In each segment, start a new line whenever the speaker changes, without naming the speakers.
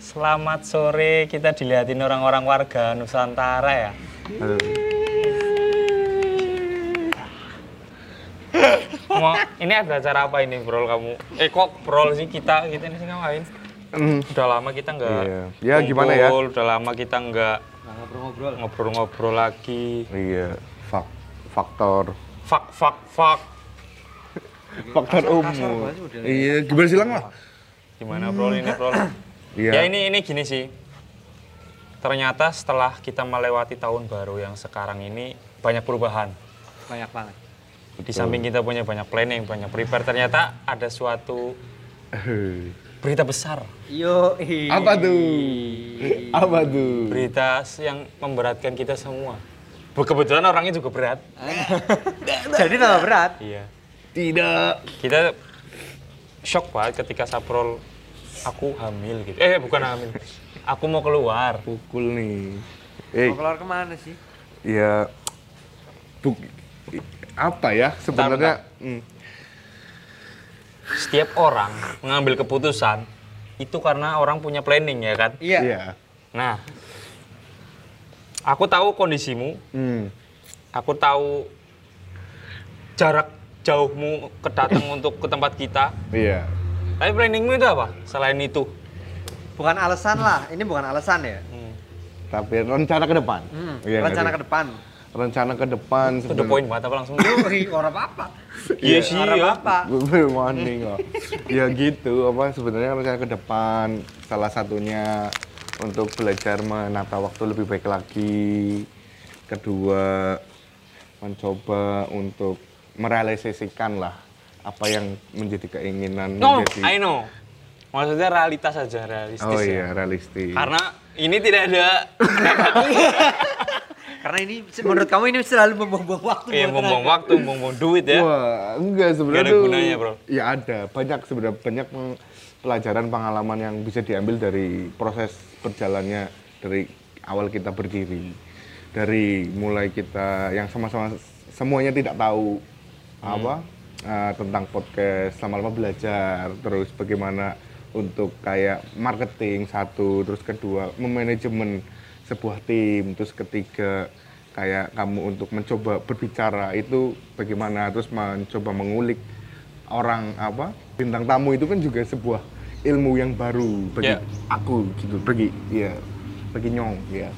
Selamat sore, kita dilihatin orang-orang warga Nusantara ya.
Eh,
Mau, ini ada acara apa ini, Brol kamu? Eh kok Brol sih kita kita ini sih ngapain?
Mm.
Udah lama kita nggak.
Iya. Ya, gimana ya?
kumpul, Udah lama kita nggak ngobrol-ngobrol. Ngobrol-ngobrol lagi.
Iya, fak- faktor
Fak fak fak.
faktor umur. Iya, gimana silang lah?
Gimana Brol ini, Brol?
Iya.
Ya ini ini gini sih. Ternyata setelah kita melewati tahun baru yang sekarang ini banyak perubahan.
banyak banget
Di samping kita punya banyak planning, banyak prepare, ternyata ada suatu berita besar,
yo
Apa tuh? Apa tuh?
berita yang memberatkan kita semua. Be- Kebetulan orangnya juga berat.
jadi tambah berat
Iya.
Tidak.
Kita shock banget ketika Saprol aku hamil gitu. Eh bukan hamil. Aku mau keluar.
Pukul nih. Eh,
mau keluar kemana sih
ya buk apa ya sebenarnya? Mm.
Setiap orang mengambil keputusan itu karena orang punya planning ya kan.
iya
Iya.
Nah, aku tahu kondisimu,
Mm.
aku tahu jarak jauhmu kedatang untuk ke tempat kita.
Iya.
Tapi planningmu itu apa? Selain itu,
bukan alasan lah ini bukan alasan ya
Tapi rencana ke depan.
Hmm,
Iya, nggak
rencana ke depan
sih? rencana ke depan
itu the point banget apa langsung?
Yoi, orang apa
Iya sih
orang
ya.
apa
Good morning kok. ya gitu, apa sebenarnya rencana ke depan salah satunya untuk belajar menata waktu lebih baik lagi. Kedua, mencoba untuk merealisasikan lah apa yang menjadi keinginan
No, I
menjadi
know. Maksudnya realitas saja, Oh, realistis
Oh
ya.
iya, realistis.
Karena ini tidak ada
karena ini menurut kamu ini selalu membuang-buang waktu
ya,
Iya,
buang
buang
tenaga.
waktu, buang duit ya.
Wah, enggak sebenarnya
Nggak ada
tuh-
gunanya, bro.
Ya ada, banyak sebenarnya banyak peng- pelajaran pengalaman yang bisa diambil dari proses berjalannya dari awal kita berdiri. Dari mulai kita yang sama-sama semuanya tidak tahu apa eh, tentang podcast, lama-lama belajar, terus bagaimana untuk kayak marketing satu, terus kedua memanajemen sebuah tim, terus ketiga kayak kamu untuk mencoba berbicara itu bagaimana terus mencoba mengulik orang apa bintang tamu itu kan juga sebuah ilmu yang baru bagi
Ya.
aku gitu bagi ya bagi nyong ya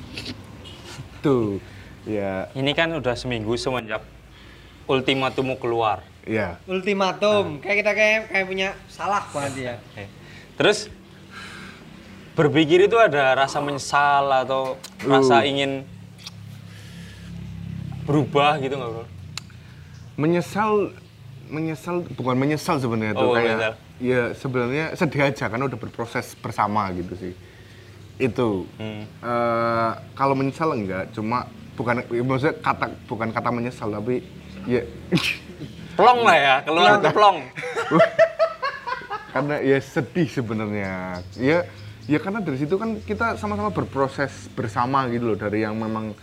tuh ya
Ini kan udah seminggu semenjak ultimatummu keluar.
ya Hmm.
ultimatum kayak kita kayak kayak punya salah banget ya
Oke. Eh, Terus berpikir itu ada rasa menyesal atau rasa ingin berubah gitu nggak bro?
menyesal menyesal bukan menyesal sebenarnya tuh
Oh,
kayak
menyesal.
ya sebenarnya sedih aja karena udah berproses bersama gitu sih itu
Hmm.
Eh, kalau menyesal enggak cuma bukan ya maksudnya kata bukan kata menyesal tapi ya
Plong lah ya, keluar itu plong.
karena ya sedih sebenarnya ya ya karena dari situ kan kita sama-sama berproses bersama gitu loh dari yang memang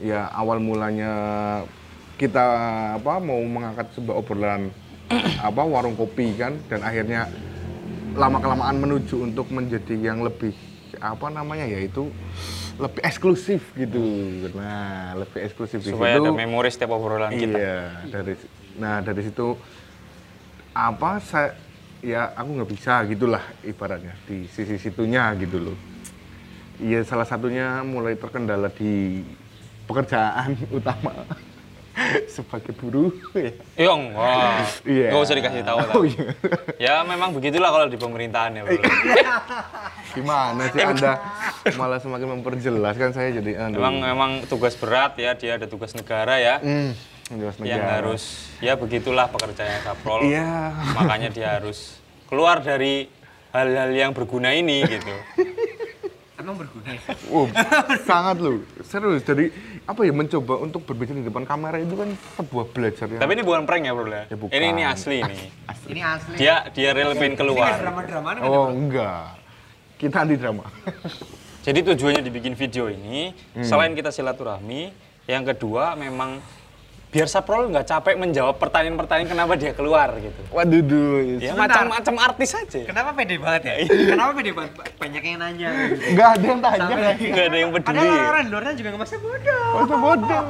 ya awal mulanya kita apa mau mengangkat sebuah obrolan apa warung kopi kan dan akhirnya lama kelamaan menuju untuk menjadi yang lebih apa namanya yaitu lebih eksklusif gitu nah lebih eksklusif di
Supaya
situ.
ada memori setiap obrolan kita.
Iya,
Gitu.
dari nah dari situ apa saya ya aku nggak bisa gitulah ibaratnya di sisi situnya gitu loh. Iya salah satunya mulai terkendala di pekerjaan utama sebagai buruh ya.
Iya enggak.
Iya.
Nggak usah dikasih tahu lah.
Oh, iya.
Ya memang begitulah kalau di pemerintahan ya bro.
Gimana sih Anda malah semakin memperjelas kan saya jadi aduh.
Memang memang tugas berat ya, dia ada tugas negara ya.
Hmm, jelas
Yang
negara.
harus, ya begitulah pekerjaannya Saprol.
Iya.
Makanya dia harus keluar dari hal-hal yang berguna ini gitu.
emang berguna ya
Wow, sangat lu serius dari apa ya mencoba untuk berbicara di depan kamera itu kan sebuah belajar yang
Tapi ini bukan prank ya bro ya?
Ya, bukan.
Ini ini asli ini.
ini asli
Dia dia real pengen keluar.
Iya, drama drama kan
Iya, oh enggak kita anti drama
Jadi tujuannya dibikin video ini selain kita silaturahmi, yang kedua memang biar Saprol nggak capek menjawab pertanyaan-pertanyaan kenapa dia keluar gitu.
Waduh, duh.
Ya
Sebentar.
macam-macam artis aja.
Kenapa pede banget ya?
Iya.
Kenapa pede banget? Ba- Banyak yang nanya. gitu.
Nggak ada yang tanya.
Sampai-
Nggak ada yang peduli.
Ada orang-orang di luarnya juga nggak masa bodoh.
Masa bodoh.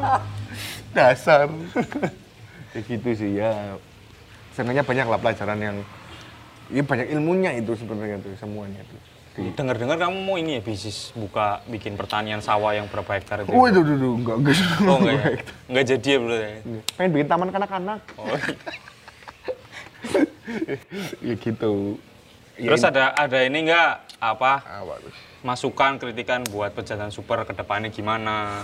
Dasar. ya gitu sih ya. Senangnya banyak lah pelajaran yang ya banyak ilmunya itu sebenarnya tuh semuanya tuh. Di-
Dengar-dengar kamu mau ini ya bisnis buka bikin pertanian sawah yang berapa hektar itu.
Waduh, duh, duh, enggak, enggak.
Oh enggak ya? Enggak jadi ya belum ya?
Pengen bikin taman kanak-kanak. ya gitu. Ya, Ah,
Terus ada ada ini enggak apa
apa tuh?
masukan kritikan buat pejalan super ke depannya gimana?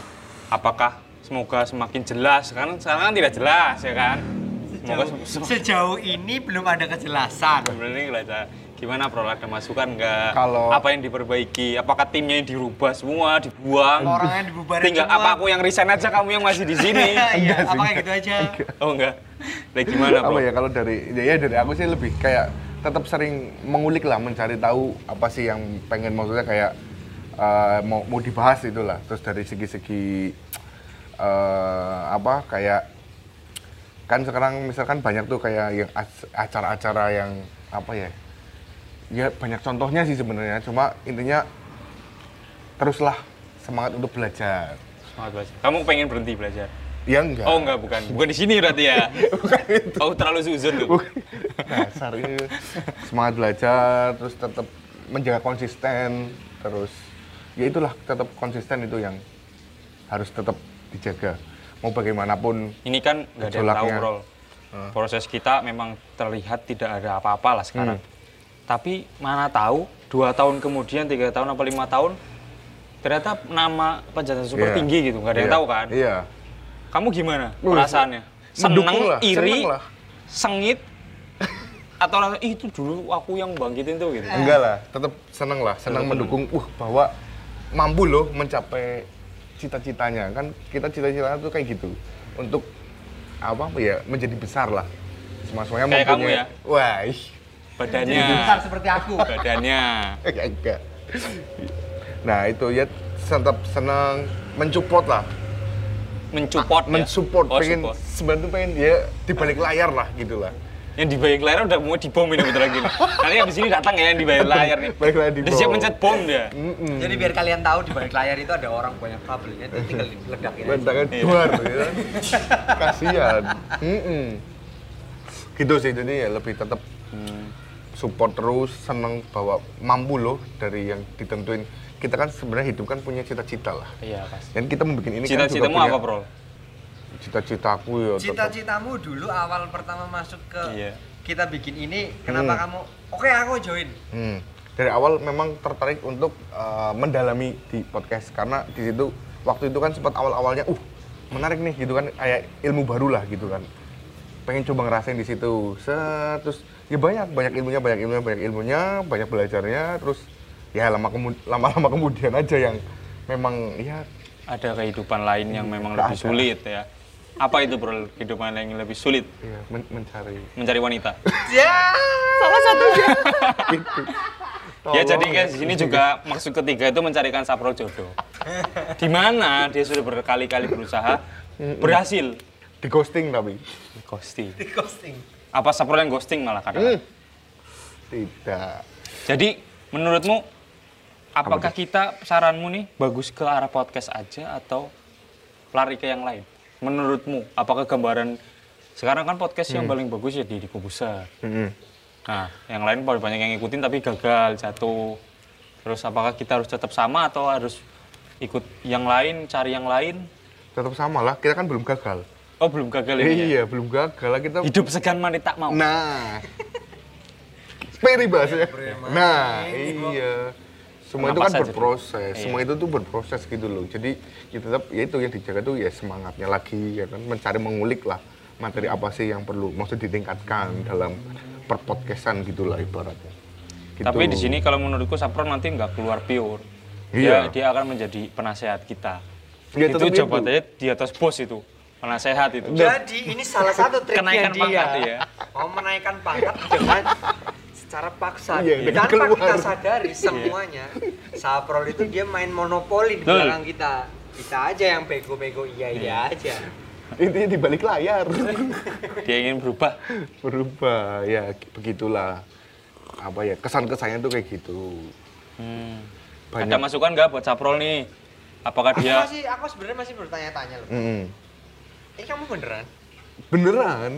Apakah semoga semakin jelas kan sekarang kan tidak jelas ya kan? Semoga
Sejauh,
sem- sem-
sejauh ini belum ada kejelasan.
sebenarnya ini kelihatan. gimana Prol ada masukan enggak?
Kalau-
apa yang diperbaiki? Apakah timnya yang dirubah semua, dibuang?
Orangnya dibubarin
Tinggal
semua.
apa aku yang resign aja kamu yang masih di sini?
Enggak
Iya,
sih,
apa kayak
enggak.
gitu aja.
oh enggak. Nah, gimana,
apa
Bro?
ya kalau dari ya, ya dari aku sih lebih kayak tetap sering mengulik lah mencari tahu apa sih yang pengen maksudnya kayak eh, mau mau dibahas itulah terus dari segi-segi eh, apa kayak kan sekarang misalkan banyak tuh kayak yang ac- acara-acara yang apa ya ya banyak contohnya sih sebenarnya cuma intinya teruslah semangat untuk belajar
Semangat belajar. Kamu pengen berhenti belajar?
ya enggak
Oh enggak, bukan. Bukan di sini berarti ya. Kau terlalu suzon tuh.
dasar ini. semangat belajar terus tetap menjaga konsisten terus ya itulah tetap konsisten itu yang harus tetap dijaga mau bagaimanapun
Ini kan nggak ada yang tahu,
Gejolaknya. Ah.
Bro. Proses kita memang terlihat tidak ada apa-apa lah sekarang.
Hmm.
Tapi mana tahu dua tahun kemudian, tiga tahun apa lima tahun, ternyata nama penjata super
Iya.
tinggi gitu, nggak ada yang
Iya.
tahu kan?
iya
Kamu gimana
Wih,
perasaannya?
mendukung
Seneng,
lah,
iri,
seneng lah.
sengit, atau rasa, "Ih, itu dulu aku yang bangkitin tuh gitu.
enggak lah tetap seneng lah senang mendukung uh bahwa mampu loh mencapai cita-citanya kan kita cita-citanya tuh kayak gitu untuk apa ya menjadi besar lah semua-semuanya
Kayak kamu
mempunyai-
ya?
wah ih,
Badannya,
Besar seperti aku.
badannya.
Ya, enggak. Nah itu ya tetap senang mensupport lah,
Mencupot ya?
mensupport
Oh,
pengen
support.
sebenarnya tuh pengen dia di balik layar lah gitu lah.
Yang di balik layar udah mau dibom ini bentar lagi. nih. Kalian abis ini datang ya yang di balik layar Hmm. nih.
Balik layar dibom.
Terus dia pencet bom dia.
Jadi biar kalian tahu di balik layar itu ada orang banyak kabelnya itu tinggal diledakin.
Iya,
aja.
Bentangan duar, ya. kasihan. Mm-mm. Gitu sih jadi ya lebih tetap
Hmm.
support terus, senang bahwa mampu loh dari yang ditentuin. Kita kan sebenarnya hidup kan punya cita-cita lah.
Iya pasti.
Dan kita membuat ini kan juga
Cita-citamu
punya
apa, Bro?
Cita-citaku ya. tetap-
Cita-citamu dulu awal pertama masuk ke
Iya.
kita bikin ini, kenapa
Hmm.
kamu? Oke, aku join.
Hmm. Dari awal memang tertarik untuk eh, mendalami di podcast karena di situ waktu itu kan sempat awal-awalnya uh menarik nih gitu kan kayak ilmu baru lah gitu kan. Pengen coba ngerasain di situ. Set, terus ya banyak banyak ilmunya, banyak ilmunya, banyak ilmunya, banyak belajarnya terus ya lama kemu- lama-lama kemudian aja yang memang ya
Ada kehidupan lain yang memang
Nggak
lebih
ada.
sulit ya. Apa itu, Bro? Kehidupan yang lebih sulit?
ya, men- mencari
Mencari wanita.
Ya. Salah satunya.
Ya
Tolong.
jadi guys, di sini juga maksud ketiga itu mencarikan saprol jodoh. Di mana dia sudah berkali-kali berusaha Hmm. berhasil
di ghosting tapi
ghosting.
Di ghosting.
Apa saprol yang ghosting malah kadang.
tidak
Jadi menurutmu apakah kita saranmu nih bagus ke arah podcast aja atau lari ke yang lain? Menurutmu apakah gambaran sekarang kan podcast yang
Hmm.
paling bagus ya di di Kubusa.
Mm-mm.
Nah, yang lain paling banyak yang ngikutin tapi gagal, jatuh. Terus apakah kita harus tetap sama atau harus ikut yang lain, cari yang lain?
tetap sama lah kita kan belum gagal
Oh, belum gagal ini. ya?
iya belum gagal lah kita
Hidup segan mandi tak mau.
Nah. Peri bahasanya. Nah, iya. Semua itu
Kenapa
kan
saja? Iya.
berproses, semua itu tuh berproses gitu loh. Jadi ya tetap ya itu yang dijaga tuh ya semangatnya lagi ya kan mencari mengulik lah materi apa sih yang perlu maksud ditingkatkan dalam perpodcastan gitu lah ibaratnya. Gitu.
Tapi di sini kalau menurutku Sapron nanti nggak keluar pure. Dia
Iya.
dia akan menjadi penasehat kita.
Ya,
itu
tetap itu. Iya.
jabatannya di atas bos itu, penasehat itu.
Jadi ini salah satu triknya
Kenaikan
dia.
pangkat ya.
Mau menaikkan pangkat dengan secara paksa.
Iya, dengan
Tanpa kita
keluar.
sadari
Iya.
semuanya, Saprol itu dia main monopoli di
Betul.
belakang kita. Kita aja yang bego-bego iya iya aja.
Intinya di balik layar.
Dia ingin berubah.
Berubah, ya begitulah. Apa ya, kesan-kesannya tuh kayak gitu.
Hmm. Ada masukan nggak buat Caprol nih? Apakah
Aku
dia
masih, aku sebenarnya masih bertanya-tanya loh.
Mm-mm.
Ini kamu beneran?
Beneran?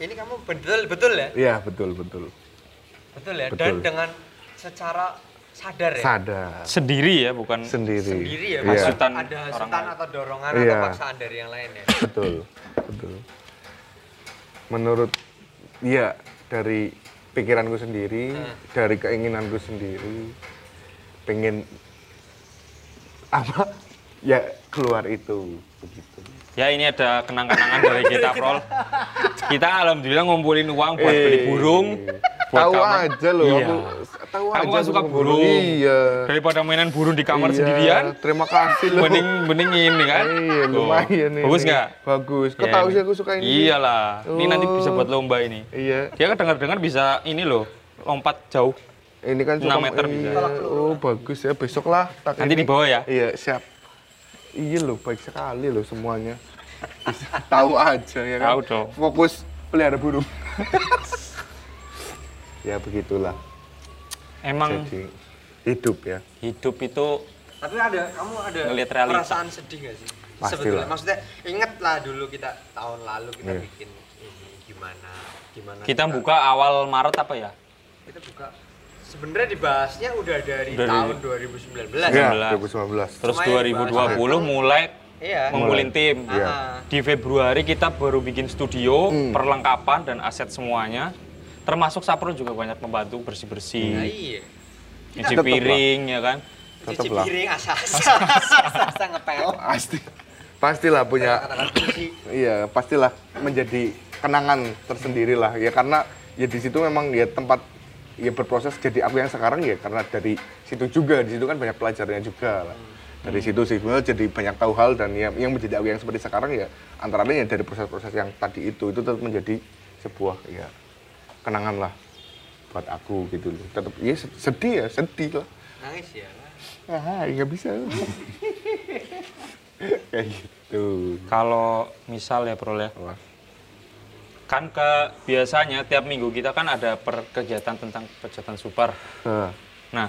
Ini kamu betul betul ya?
Iya, betul-betul.
Betul ya. Dan
Betul.
dengan secara sadar ya.
Sadar.
sendiri ya, bukan
Sendiri.
Sendiri
Iya,
ya. bukan
Hasutan
Ada
orang
hasutan
lain.
atau dorongan
Iya.
atau paksaan dari yang lain ya.
betul. Betul. Menurut, iya, dari pikiranku sendiri,
Hmm.
dari keinginanku sendiri, pengen apa ya keluar itu begitu
Ya ini ada kenang-kenangan dari kita, Prol. Kita alhamdulillah ngumpulin uang Eh. buat beli burung. buat
Eh. tahu
kamar.
aja loh
Iya.
aku tahu
Kamu
aja
kan
aku
suka
suka
burung.
iya
Daripada mainan burung di kamar
Iya,
sendirian,
terima kasih loh
mending mending ini kan.
Iya,
Tuh.
lumayan ini.
Bagus nggak?
Bagus. Kok
Ya,
tahu
ini.
sih aku suka ini?
Iyalah, ini nanti bisa buat
Oh.
lomba ini.
Iya.
Dia kan dengar-dengar bisa ini loh, lompat jauh.
Ini kan suka
Enam meter bisa.
iya. Oh, bagus ya. Besok lah tak
Nanti
ini.
dibawa ya.
Iya, siap. Iya loh, baik sekali loh semuanya. Bisa tahu aja ya kan.
Tahu dong.
Fokus pelihara burung. ya begitulah.
Emang
Jadi hidup ya.
hidup itu
Tapi ada kamu ada
Ngelihat realita.
perasaan sedih gak sih?
Pastilah.
Sebetulnya maksudnya ingatlah dulu kita tahun lalu kita
Iya.
bikin ini gimana gimana
kita buka awal Maret apa ya?
kita buka sebenarnya dibahasnya udah dari
Dari-
tahun 2019
Iya,
2019.
2019.
Terus
Cuma yang
2020 mulai
Iya.
ngumpulin tim.
Iya. Hmm.
Ah.
Di Februari kita baru bikin studio, perlengkapan dan aset semuanya. Termasuk Sapro juga banyak membantu
Nah,
bersih-bersih,
iya.
cuci
tetep lah.
piring ya kan.
Cuci
Tetep lah.
piring asa-asa, asa-asa ngepel.
Pasti. Pastilah punya
Katakan kunci.
Iya, pastilah menjadi kenangan tersendiri lah. Ya karena ya di situ memang ya tempat ya berproses jadi aku yang sekarang ya karena dari situ juga di situ kan banyak pelajarannya juga lah. Dari situ sih sebenarnya jadi banyak tahu hal dan ya yang menjadi aku yang seperti sekarang ya antara lain ya dari proses-proses yang tadi itu itu tetap menjadi sebuah ya kenangan lah buat aku gitu loh. Tetap ya sedih ya, sedih lah.
Nangis ya.
Ah, nggak bisa. Kayak gitu.
Kalau misal ya Bro ya,
Wah.
kan ke biasanya tiap minggu kita kan ada per kegiatan tentang kegiatan super.
Ah.
Nah,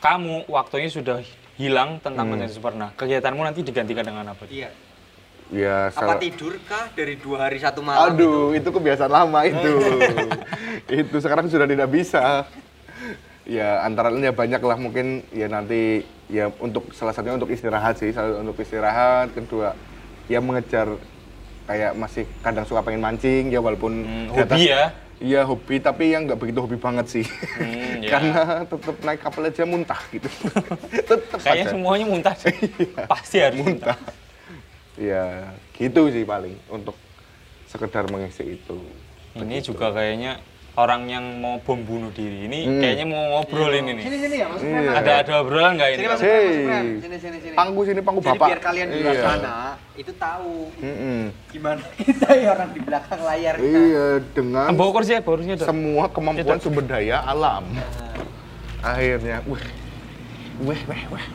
kamu waktunya sudah hilang tentang
Hmm.
kegiatan super. Nah, kegiatanmu nanti digantikan dengan apa?
Iya.
Ya,
Apa
salah-
tidur kah dari dua hari satu malam?
Aduh, itu kebiasaan lama itu. itu sekarang sudah tidak bisa. Ya, antara lain ya banyak lah mungkin ya nanti ya untuk salah satunya untuk istirahat sih, salah untuk istirahat, kedua ya mengejar kayak masih kadang suka pengen mancing ya walaupun di atas-
hobi ya?
Iya hobi, tapi yang nggak begitu hobi banget sih.
Hmm, ya.
Karena tetap naik kapal aja muntah gitu. tetap
Kayaknya
aja.
semuanya muntah sih. Pasti harus muntah.
Iya. muntah. Ya, gitu sih paling untuk sekedar mengisi itu.
Ini juga kayaknya orang yang mau bom bunuh diri ini
Hmm.
kayaknya mau ngobrol Iya. ini nih.
Sini sini ya, Mas Prem.
Iya.
Ada ada obrolan nggak ini?
Sini Mas
Hei.
Prem, Mas Prem. Sini sini sini.
Pangku sini, pangku
Jadi
bapak.
biar kalian di luar
Iya.
sana itu tahu
Mm-mm.
gimana kita ya orang di belakang layar kan? kita.
Iya, dengan
Bawa kursi ya, bawa kursinya dong.
semua kemampuan sumber daya alam. Akhirnya, wih. Weh, weh, weh.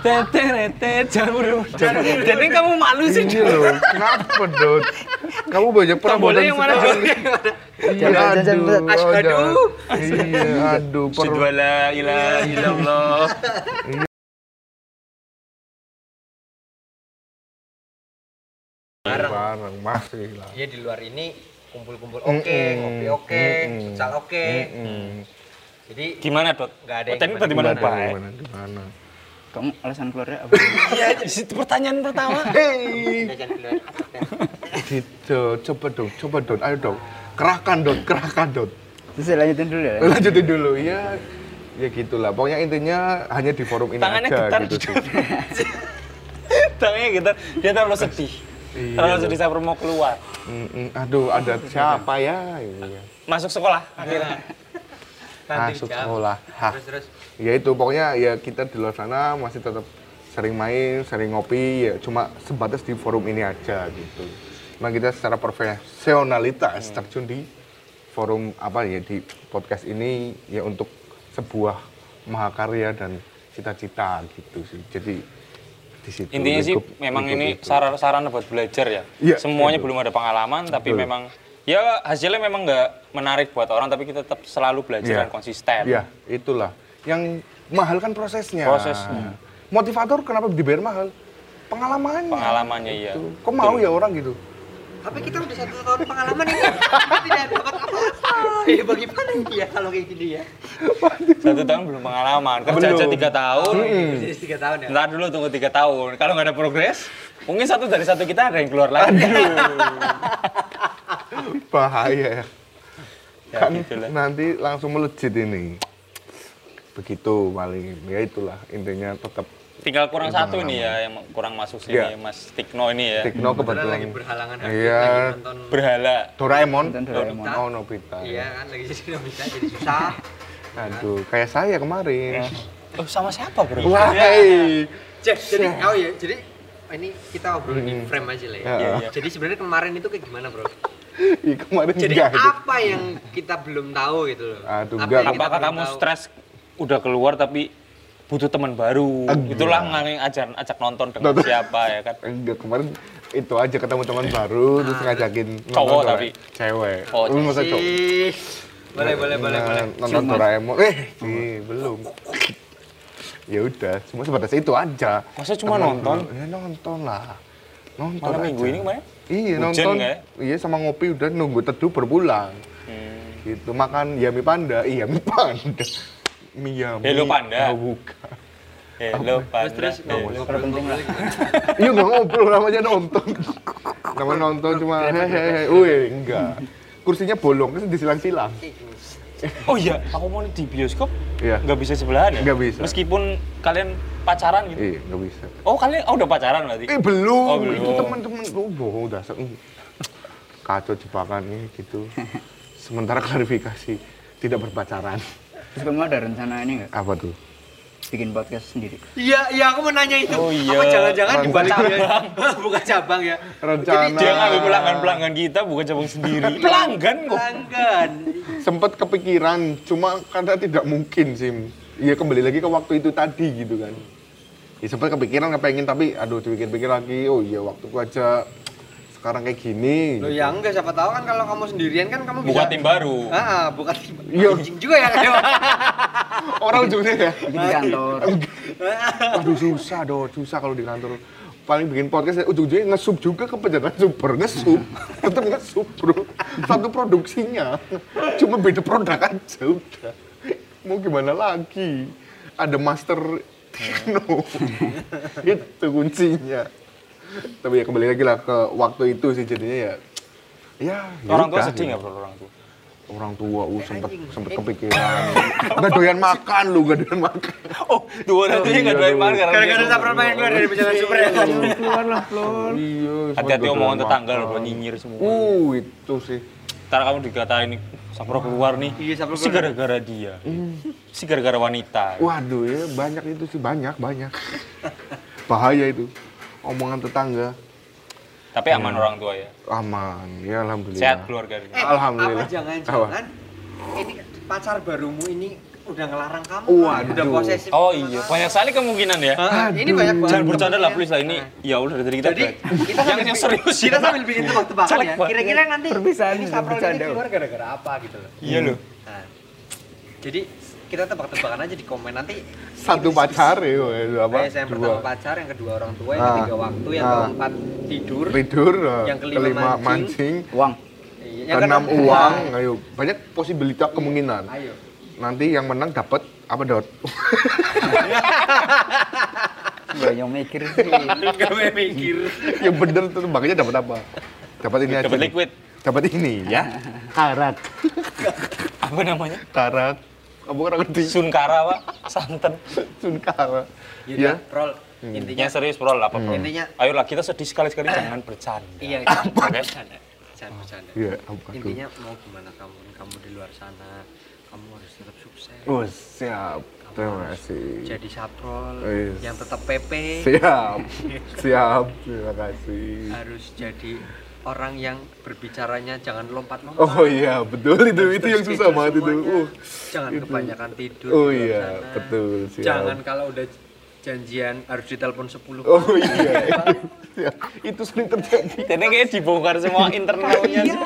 Jangan buru-buru. Jadi kamu malu sih.
Ini loh, kenapa, Dot? Kamu banyak
Tombolnya
perabotan
yang mana?
sekali. Iya, aduh.
Aduh.
Iya, aduh. per-
Sedwala ilah ilallah.
Barang, masih lah.
Iya di luar ini kumpul-kumpul oke, ngopi oke, futsal oke.
Hmm.
Jadi
Gimana dok?
Nggak ada yang
Tadi tadi mana
Gimana,
Pak? eh?
gimana, gimana?
Kamu alasan keluarnya apa?
Iya, itu pertanyaan pertama.
Hei,
udah jangan keluar.
gitu. Coba dong, coba dong, ayo dong. Kerahkan, Dot, kerahkan, Dot.
Terus saya lanjutin dulu ya.
lanjutin dulu ya ya gitulah pokoknya intinya hanya di forum ini
Tangannya
aja
getar
gitu
gitu.
sih
Tangannya gitu. Dia terlalu sedih.
Iya.
Terlalu sedih saya mau keluar.
Mm, mm, aduh ada siapa ya Gitu ya.
Masuk sekolah akhirnya.
Nanti
masuk
dijawab.
sekolah Hah.
Terus terus
ya itu pokoknya ya kita di luar sana masih tetap sering main sering ngopi ya cuma sebatas di forum ini aja gitu Nah kita secara
Hmm.
profesionalitas terjun di forum apa ya di podcast ini ya untuk sebuah mahakarya dan cita-cita gitu sih. Jadi di situ
Intinya sih
lingkup-
memang
lingkup
ini
itu.
saran sarana buat belajar ya.
Iya,
Semuanya
betul.
belum ada pengalaman tapi memang ya hasilnya memang nggak menarik buat orang tapi kita tetap selalu belajar
Iya.
dan konsisten.
Iya, itulah. Yang mahal kan prosesnya.
Prosesnya.
Motivator kenapa dibayar mahal? Pengalamannya.
Pengalamannya iya.
Tuh. Kok mau ya orang gitu?
Tapi kita udah satu tahun pengalaman ini kita tidak dapat apa-apa. Ya bagaimana ya kalau kayak gini ya?
Satu tahun belum pengalaman, kerja aja tiga tahun.
Oh, Jadi tiga tahun ya.
Ntar dulu tunggu tiga tahun. Kalau nggak ada progres, mungkin satu dari satu kita ada yang keluar lagi.
Bahaya ya.
Ya,
kan
gitulah.
nanti langsung melejit ini. Begitu paling. Ya itulah intinya tetap
Tinggal kurang satu nih ya yang kurang masuk sini
Iya.
Mas Tikno ini ya.
Tekno
Karena
kebetulan.
lagi berhalangan hati,
Iya.
lagi nonton.
Berhala.
Doraemon.
Nonton Doraemon.
Oh, Nobita.
Iya kan lagi sini bisa jadi susah.
Aduh, kayak saya kemarin.
Iya.
Oh, sama siapa, Bro?
Wah, hey.
Jadi, jadi oh ya, jadi ini kita obrolin di frame aja lah ya.
Iya,
iya.
Jadi sebenarnya kemarin itu kayak gimana, Bro?
Ih, kemarin
Jadi
enggak itu.
apa yang kita belum tahu gitu loh.
gitu. Aduh,
Apa
enggak.
yang kita
Apakah
belum
kamu
tahu?
stres udah keluar tapi butuh teman baru? Itulah ngajarin ajaran ajak nonton dengan
Nonton.
siapa ya kan.
Enggak, kemarin itu aja ketemu teman baru terus
Ah.
ngajakin nonton
Iya. Cowok
Dora-
tapi.
cewek.
Oh,
Lu masa cowok?
Ih, Boleh, boleh, boleh,
Nah,
boleh.
Nonton Doraemon. Eh, ih, belum. Ya udah, cuma sebatas itu aja.
Masa cuma
Teman
nonton?
dulu, Ya nonton lah. Nonton
Malam minggu
aja.
ini kemarin?
Iya,
Hujan
nonton.
nggak ya?
Iya, sama ngopi udah nunggu teduh berpulang.
Hmm.
Gitu, makan Yami Panda. Iya, Yami Panda. Mie Yami.
Hello Eh, Panda.
Oh, bukan.
Hello, Pak.
Terus ngobrol,
Hello.
ngobrol, ngobrol gimana?
Iya nggak ngobrol namanya nonton. Nama nonton cuma hehehe. Wih enggak. Kursinya bolong kan disilang-silang.
Oh iya, aku mau di bioskop
Iya.
nggak bisa sebelahan ya?
Nggak bisa.
Meskipun kalian pacaran gitu?
Iya nggak bisa.
Oh, kalian oh, udah pacaran berarti?
Eh belum.
Oh, belum.
Itu teman-teman tuh bohong udah se- kacau jebakannya gitu. Sementara klarifikasi tidak berpacaran.
Terus kamu ada rencana ini nggak?
Apa tuh?
Bikin podcast sendiri?
Iya, iya aku mau nanya itu.
Oh, iya.
Apa jangan-jangan
Orang
dibalik cabang? Bukan cabang ya.
Rencana.
Dia ngambil pelanggan-pelanggan kita bukan cabang sendiri. pelanggan kok.
Pelanggan.
Sempat kepikiran, cuma karena tidak mungkin sih. Ya kembali lagi ke waktu itu tadi gitu kan. Ya sempat kepikiran kepengen tapi aduh dipikir-pikir lagi, oh iya waktuku aja sekarang kayak gini.
iya.
Loh ya enggak siapa tahu kan kalau kamu sendirian kan kamu bisa
Buka tim baru.
Ah, ah, buka tim.
Iya.
Anjing juga ya.
Orang ujungnya ya.
Nah,
Bikin di kantor.
Aduh susah doh, susah kalau di kantor. Paling bikin podcast ujung-ujungnya ngesub juga ke pejabat super, ngesub. Tetap ngesub, Bro. Satu produksinya. Cuma beda produk aja udah. Mau gimana lagi? Ada master Tekno. Itu kuncinya. Tapi ya kembali lagi lah ke waktu itu sih jadinya ya. Ya, ya
Orang tua
udah,
sedih
ya.
nggak bro orang tua?
orang tua uh, sempet sempet kepikiran nggak doyan makan lu nggak doyan makan
Oh, dua nantinya nggak doain makan karena
Gara-gara
dia-
sabran banyak keluar dari pejalan super ya.
Iya, Keluar lah, keluar.
iya sempet
Hati-hati
nggak
omongan
doyan
tetangga
makan.
loh, bro, nyinyir semua.
uh itu sih
Ntar kamu dikatain nih, Sapro keluar nih.
Iya, Sapro
Si
keluar. Hmm.
gara-gara dia. Si gara-gara wanita.
waduh ya banyak itu sih banyak banyak bahaya itu omongan tetangga
Tapi
Hmm.
aman orang tua ya.
aman ya alhamdulillah
Sehat keluarganya.
Eh,
Ya, Alhamdulillah.
Apa jangan-jangan ini pacar barumu ini udah ngelarang kamu. kan?
Waduh.
Udah posesif.
Oh iya, banyak sekali kemungkinan ya.
Ah, ini banyak banget.
Jangan bercanda lah please lah ini. Ya udah dari kita.
Nah. Jadi kita
yang
sambil-
yang serius
Kita
ya.
sambil bikin tebak-tebakan
Caleg
ya.
banget.
Kira-kira nanti
Perpisahan
ini
juga,
Saprol ini
bercanda.
keluar gara-gara apa gitu loh.
Iya loh.
Nah, jadi kita tebak-tebakan aja di komen nanti
satu pacar ya waduh, apa
Apa? Yang Eh, pertama pacar, yang kedua orang tua, yang
Ah.
ketiga waktu, yang
Ah.
keempat tidur,
tidur eh,
Yang kelima mancing.
Uang.
Iya, yang
keenam
keenam
uang ayo banyak posibilitas kemungkinan
Ayo.
nanti yang menang dapat apa dot
Gak yang mikir sih.
Enggak mikir.
yang bener tuh makanya dapat apa dapat ini aja
Dapat
nih.
liquid.
dapat ini ya karat
Apa namanya?
karat kamu kan ngerti
Sunkara, Pak. Santan.
sun karat
Ya,
Iya
ya
Prol. Intinya
Yang serius bro lah, apa bro?
intinya Eh.
Ayolah kita sedih sekali-sekali jangan bercanda.
iya jangan bercanda. Jangan bercanda.
ya apa tuh
Intinya mau gimana kamu, kamu di luar sana, kamu harus tetap sukses.
oh iya. siap terima kasih
Jadi Saprol
Yes.
yang tetap PP
siap siap terima kasih
harus jadi orang yang berbicaranya jangan lompat-lompat. gitu
Oh iya, betul itu itu yang susah banget itu. Uh,
jangan kebanyakan tidur.
Oh
di luar
iya,
sana.
betul, siap.
Jangan kalau udah janjian harus ditelepon 10
oh iya. Siap. itu sering terjadi.
Dan ini kayak dibongkar semua internalnya.
Iya.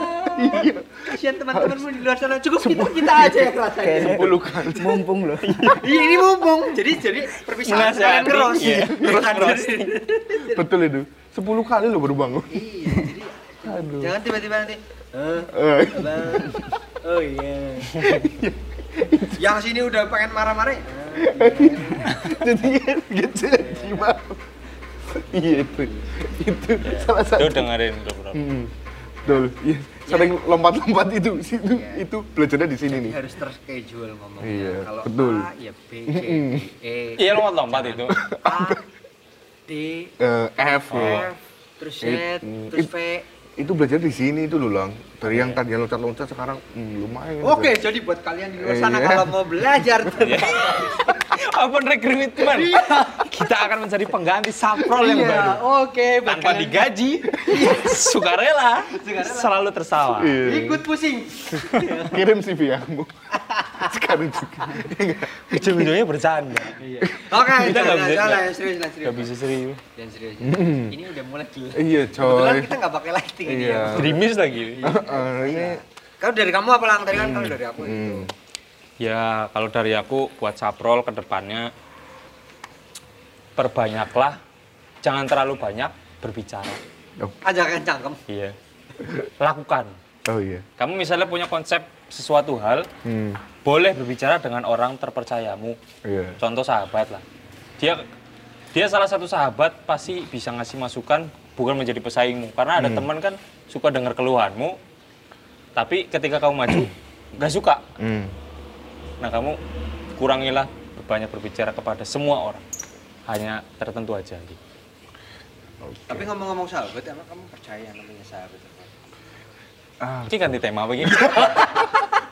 Kasihan teman-temanmu di luar sana cukup kita, kita aja yang ngerasain.
Eh, Mumpung loh.
Iya ini mumpung. Jadi jadi perpisahan
Menasehati,
kalian ngeros.
iya.
Ngeros, ngeros.
Betul itu. 10 kali lo baru bangun.
Iya, jadi jangan tiba-tiba nanti. "Eh,
Eh,
Abang. Oh iya. Yang sini udah pengen marah-marah. ya?
jadi gitu gimana? Iya itu. Itu salah
Lu
satu.
dengerin tuh, bro.
Hmm. Betul. Iya. Sering
Ya.
lompat-lompat itu situ itu belajarnya di sini nih.
Harus terschedule ngomongnya.
Iya,
Kalau
betul.
A ya B, C, D, E.
Iya lompat-lompat itu.
A, D,
Eh, F.
F, terus Z,
It-
terus
it-
V.
Itu belajar di sini itu loh, Lang. Dari yang tadinya loncat-loncat sekarang hmm, lumayan.
Oke, jadi buat kalian di luar sana
Iya.
kalau mau belajar
Open recruitment. Kita akan mencari pengganti saprol yang
Iya,
baru.
oke, buat
Tanpa
kalian
digaji, sukarela, selalu tersawa.
Iya.
ikut pusing.
Kirim CV kamu. Sekarang juga.
Ujung-ujungnya bercanda.
Oke,
Kita nggak
jangan
bisa-
salah, serius lah, serius.
Gak bisa serius.
Jangan serius. Ini udah mulai gelap.
Iya,
Kebetulan
coy.
kita nggak pakai lighting ini
Iya. eh,
ya.
Grimis lagi.
Heeh, ini
Kalau dari kamu apa lang tadi kan kalau dari aku
Hmm.
itu.
Ya, kalau dari aku buat saprol ke depannya perbanyaklah jangan terlalu banyak berbicara.
Ajakan cangkem.
Iya. Lakukan.
Oh iya.
Kamu misalnya punya konsep sesuatu hal,
Hmm.
boleh berbicara dengan orang terpercayamu.
Iya.
Contoh sahabat lah. Dia dia salah satu sahabat pasti bisa ngasih masukan bukan menjadi pesaingmu. Karena
Hmm.
ada teman kan suka dengar keluhanmu, tapi ketika kamu maju nggak suka.
Hmm.
Nah kamu kurangilah banyak berbicara kepada semua orang. Hanya tertentu aja. gitu.
Tapi ngomong-ngomong sahabat, emang kamu percaya namanya sahabat?
Ini ganti tema apa gini?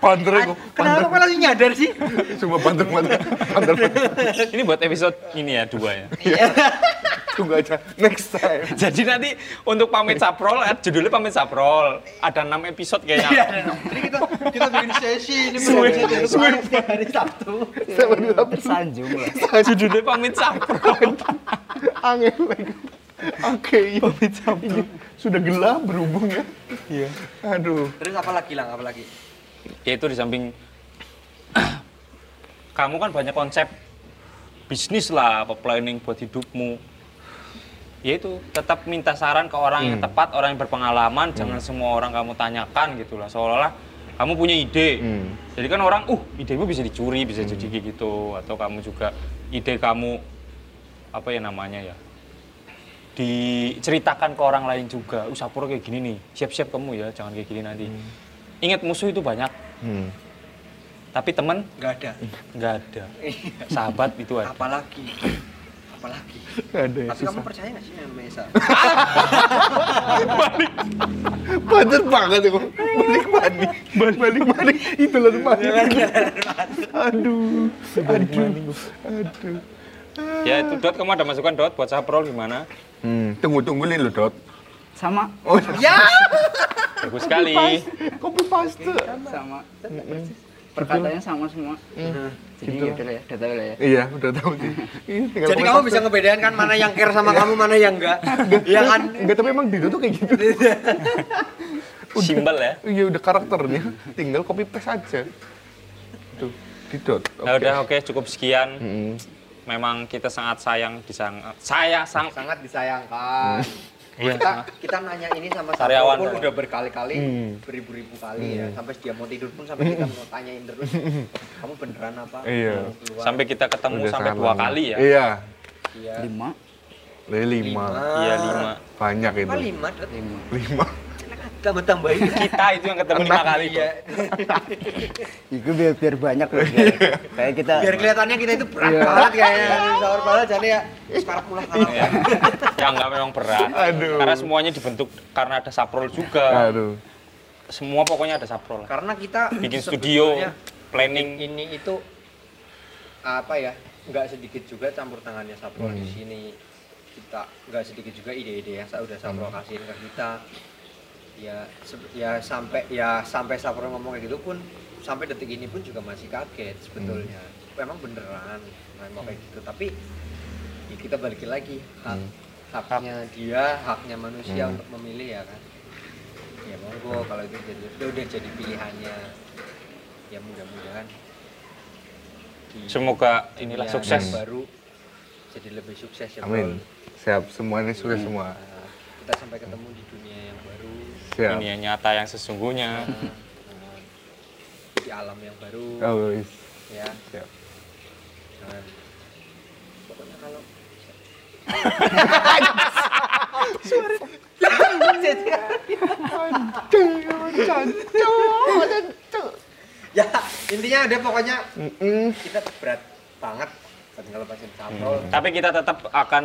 Panter aku.
Kenapa kok langsung nyadar sih?
Cuma panter panter. Panter panter.
Ini buat episode ini ya, dua ya.
Tunggu aja next time.
Jadi nanti untuk pamit saprol, eh, judulnya pamit saprol. Ada enam episode
Iya,
kayaknya.
Jadi kita kita bikin sesi ini bikin sesi untuk hari setiap hari Sabtu.
Saya baru dapat
Tersanjung loh.
judulnya pamit saprol.
angin lagi. Oke, iya. Ini Sudah gelap berhubung ya. Iya. Aduh.
Terus apa lagi lang? Apa lagi?
Yaitu di samping kamu kan banyak konsep bisnis lah, apa planning buat hidupmu. Yaitu tetap minta saran ke orang yang tepat, orang yang berpengalaman, jangan semua orang kamu tanyakan gitu lah. Seolah-olah kamu punya ide.
Hmm.
Jadi kan orang, uh, idemu bisa dicuri, bisa jadi kayak gitu atau kamu juga ide kamu apa ya namanya ya? diceritakan ke orang lain juga. Usah pura kayak gini nih. Siap-siap kamu ya, jangan kayak gini nanti. Ingat musuh itu banyak,
Hmm.
tapi temen
Gak ada.
nggak ada. Iya. Sahabat itu ada.
Apalagi? Apalagi?
Gak ada ya,
Tapi kamu
susah.
percaya nggak sih namanya sahabat?
Padat banget aku. Balik balik. Balik balik balik. Itu lah balik. Aduh. Aduh. Aduh.
Ya itu Dot, kamu ada masukan Dot buat Saprol gimana?
Hmm, tunggu tungguin lo, Dot.
Sama.
Oh,
Ya.
Bagus sekali.
copy paste.
Sama. Perkataannya sama semua. Jadi
Gitu.
yaudah lah ya, udah tahu lah ya.
Iya, udah tahu sih. Iya, tinggal
Jadi
copy
kamu
paste.
bisa ngebedain kan mana yang care sama kamu, mana yang enggak. Iya kan?
Enggak, tapi emang Dido tuh kayak gitu.
Simbel ya.
Iya, udah karakternya. Tinggal copy paste aja. Tuh, Dido. Oke.
Nah, udah oke cukup sekian.
Hmm.
Memang kita sangat sayang di sang- saya sang
Sangat disayangkan.
Iya.
kita kita nanya ini sama
Sariawan,
Saryawan pun
Saryawan.
udah berkali-kali beribu-ribu kali ya sampai dia mau tidur pun sampai kita mau tanyain terus kamu beneran apa
Iya.
Mau keluar
sampai kita ketemu
Udah
sampai
sangat
dua
lama.
kali ya.
Iya.
iya
Lima.
Lih, lima.
Iya lima.
Banyak
apa
itu.
lima dot
Lima.
Lima.
tambah tambahin
Kita itu yang ketemu lima kali.
iya
Itu biar, biar banyak loh. biar- Kayak kita.
Iya.
biar kelihatannya kita itu berat banget kayaknya sahur banget jadi ya sekarang pulang
Ya, ya nggak memang berat.
Aduh.
Karena semuanya dibentuk karena ada Saprol juga.
Aduh.
Semua pokoknya ada Saprol.
karena kita
Bikin studio,
sebetulnya
planning.
ini itu apa ya nggak sedikit juga campur tangannya
Hmm.
Saprol ya,
Hmm.
di sini kita nggak sedikit juga ide-ide yang sudah Saprol kasihin ke kita ya se- ya sampai ya sampai Sapro ngomong kayak gitu pun sampai detik ini pun juga masih kaget sebetulnya
Hmm.
memang beneran memang kayak gitu tapi ya kita balikin lagi hak
Hmm.
haknya dia haknya manusia untuk memilih ya kan ya
Hmm.
monggo kalau itu jadi itu udah jadi pilihannya ya mudah-mudahan di-
Semoga inilah
dunia
sukses.
yang baru jadi lebih sukses ya
Amin.
Bro.
Siap, semuanya sukses semua.
Nah, kita sampai
Hmm.
ketemu di dunia yang baru
Siap.
Ini yang nyata yang sesungguhnya.
nah, di alam yang baru
Oh, wis.
ya
Hmm.
siap.
Nah, pokoknya kalau ya intinya ada pokoknya
Hmm.
kita berat banget kalau pasin sampel
Tapi kita tetap akan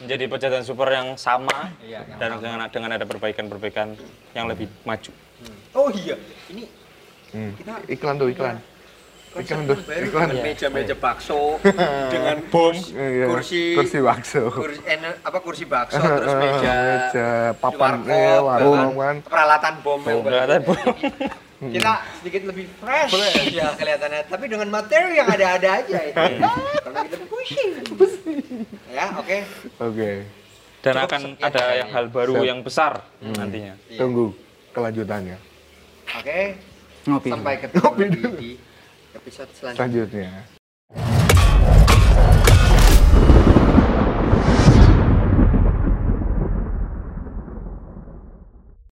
menjadi pejalan super yang sama
Iya, yang
dan
sama.
dengan dengan ada perbaikan-perbaikan yang lebih maju.
Hmm. oh iya ini
Hmm.
Kita-
Iklan tuh, iklan.
konsep
Iklan tuh,
yang baru
iklan.
dengan
Iya.
meja-meja bakso dengan
Bom.
Iya,
Kursi-
kursi bakso.
kursi eh, apa kursi bakso terus
Eh,
meja,
meja, papan,
warkop,
eh, warung,
bahkan
kan.
peralatan bom yang banyak.
Peralatan bom.
Jadi, kita sedikit lebih fresh ya kelihatannya tapi dengan materi yang ada-ada aja ya. karena kita pusing ya oke
Oke,
Dan
Cukup ya,
akan
sekian
ada yang
kayaknya.
hal baru
Siap.
yang besar nantinya.
Iya.
tunggu kelanjutannya.
oke
Ngopi.
sampai ketemu di, di episode selanjutnya
Selanjutnya.